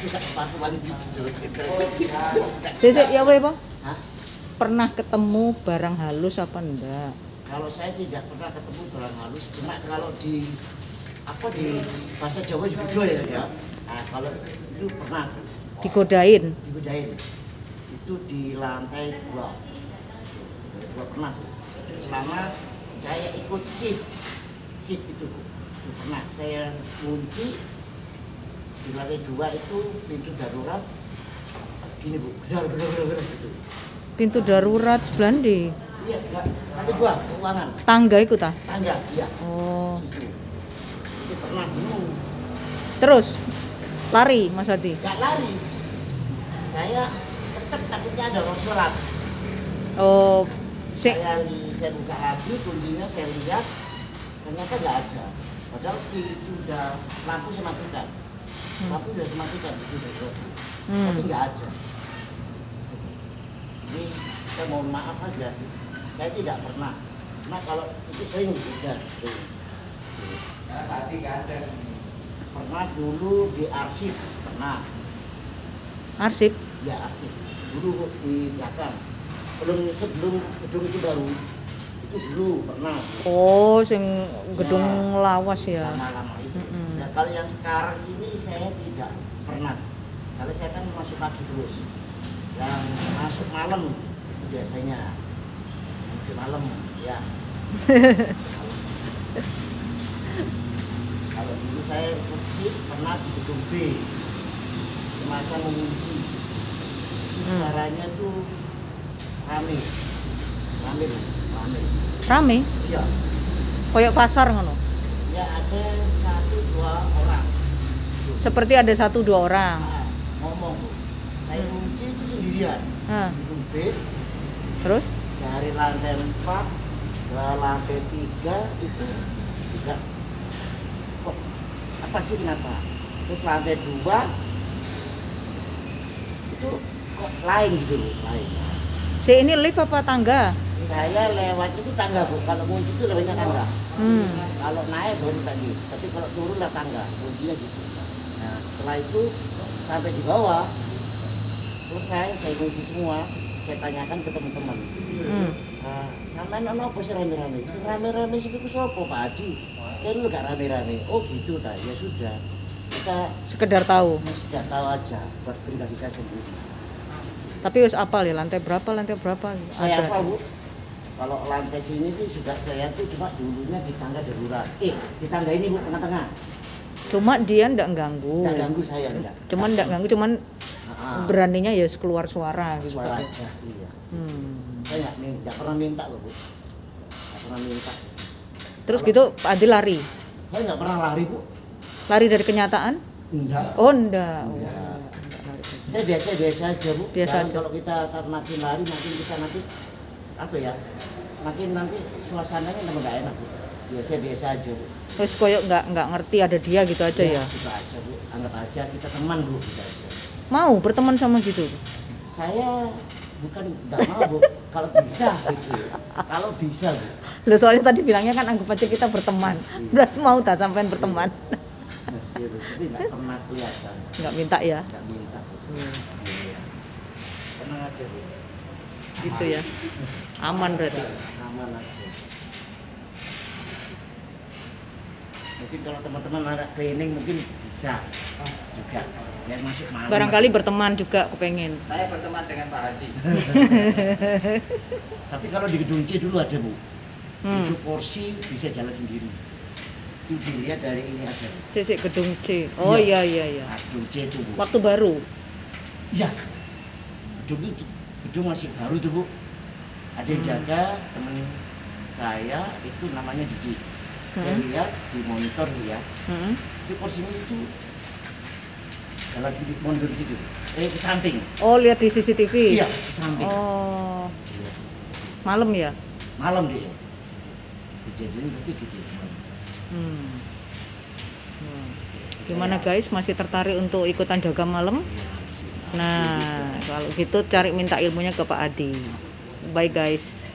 Buka sepatuan gitu. Sisi, ya apa ya, Pak? Hah? Pernah ketemu barang halus apa enggak? Kalau saya tidak pernah ketemu barang halus, cuma kalau di apa di bahasa Jawa judo ya ya. Nah, kalau itu pernah Digodain? dibedain. Itu di lantai dua. Dua pernah. Bu. Selama saya ikut shift, shift itu, Bu. itu pernah. Saya kunci di lantai dua itu pintu darurat. Gini bu, gedar gedar gedar gedar gitu. Pintu darurat sebelah ndi? Iya, enggak. Lantai dua, keuangan, Tangga iku ta? tangga, iya. Oh. itu pernah dulu Terus lari Mas Adi. nggak lari saya tetap takutnya ada longsoran Oh, sik saya li- saya buka lagi kuncinya saya lihat ternyata nggak ada padahal di- sudah lampu sematikan lampu sudah sematikan itu sudah Hmm. tapi nggak ada ini saya mohon maaf aja saya tidak pernah cuma kalau itu sering sudah sering. pernah dulu di arsip pernah arsip. ya asik dulu di belakang sebelum sebelum gedung itu baru itu dulu pernah Oh, sing gedung lawas ya. lama-lama itu Mm-mm. nah kalau yang sekarang ini saya tidak pernah soalnya saya kan masuk pagi terus yang masuk malam itu biasanya masuk malam ya kalau dulu saya ikut sih pernah di gedung B semasa mengunci itu Hmm. suaranya tuh rame rame Bu. rame Rame, iya koyok pasar ngono. ya ada satu dua orang Seperti ada satu dua orang. Ah, ngomong Bu. saya kunci itu sendirian Hah, gedung B terus dari lantai 4 ke lantai 3 itu tidak kok apa sih kenapa terus lantai 2 itu kok lain gitu loh, lain si ini lift apa tangga? saya lewat itu tangga bu kalau kunci itu lewatnya tangga Hmm. kalau naik baru tadi tapi kalau turun lah tangga kuncinya gitu nah setelah itu sampai di bawah selesai saya kunci semua saya tanyakan ke teman-teman Hmm. Nah, sampean ono apa sih rame-rame? Sing rame-rame sing iku sapa, Pak Adi? Kan lu gak rame-rame. Oh, gitu ta. Ya sudah. Kita Sekedar tahu. mesti tahu aja buat pribadi saya sendiri. Tapi wis apal ya lantai berapa, lantai berapa? Saya Ada. apa, Bu? Kalau lantai sini tuh juga saya tuh cuma dulunya di tangga darurat. Eh, di tangga ini Bu tengah-tengah. Cuma dia ndak ganggu. Enggak ganggu saya enggak. Cuman ndak ganggu, cuman Ah, beraninya ya keluar suara gitu. suara aja. Iya. Hmm. Saya enggak min- enggak pernah minta loh, Bu. Enggak pernah minta. Terus gitu Pak Adi lari. Saya enggak pernah lari, Bu. Lari dari kenyataan? Enggak. Oh, ndak. Oh, Ndak. ndak lari. saya biasa biasa aja bu Biasa Jangan aja. kalau kita tar- makin lari makin kita nanti apa ya makin nanti suasananya tambah nggak enak bu biasa biasa aja bu Terus koyok nggak nggak ngerti ada dia gitu aja ya. kita aja bu anggap aja kita teman bu kita aja Mau berteman sama gitu. saya bukan nggak mau bu kalau bisa gitu kalau bisa bu Loh soalnya tadi bilangnya kan anggap aja kita berteman. Berarti mau tak sampean berteman? nah, iya, Bu. tapi nggak pernah kelihatan Nggak minta ya. nggak minta bu. Hmm. tenang aja bu Gitu ya. Aman berarti. aman aja mungkin kalau teman-teman ada training mungkin bisa juga ya masuk malam Nah, Barangkali berteman juga kepengen. Saya berteman dengan Pak Hadi. tapi kalau di gedung C dulu ada bu Hmm. itu kursi bisa jalan sendiri itu dilihat dari ini ada Bu. Sisi gedung C. Oh iya iya iya. Nah, gedung C itu bu Waktu baru. iya gedung itu gedung masih baru tuh bu ada yang Hmm. jaga temen saya itu namanya Didi saya Hmm. lihat di monitor lihat Hmm. itu kursinya itu jalan sedikit mundur gitu eh ke samping Oh lihat di CCTV. iya ke samping Oh Iya. malam ya. malam dia kejadiannya berarti gitu Hmm. Hmm. Gimana guys masih tertarik untuk ikutan jaga malam? Iya, Nah, kalau gitu cari minta ilmunya ke Pak Adi. Bye guys.